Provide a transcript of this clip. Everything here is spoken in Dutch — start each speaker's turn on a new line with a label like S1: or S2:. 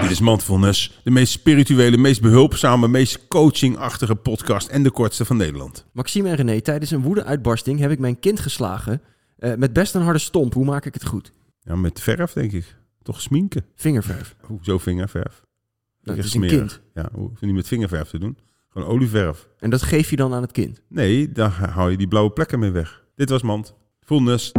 S1: Dit is Mindfulness, de meest spirituele, meest behulpzame, meest coachingachtige podcast en de kortste van Nederland.
S2: Maxime en René, tijdens een woede-uitbarsting heb ik mijn kind geslagen. eh, met best een harde stomp. Hoe maak ik het goed?
S1: Ja, met verf denk ik. Toch sminken.
S2: Vingerverf.
S1: Oeh, zo vingerverf.
S2: Dat
S1: Echt
S2: is een
S1: smerig.
S2: kind.
S1: Ja, hoef je niet met vingerverf te doen. Gewoon olieverf.
S2: En dat geef je dan aan het kind.
S1: Nee, daar hou je die blauwe plekken mee weg. Dit was Mand. Fullness.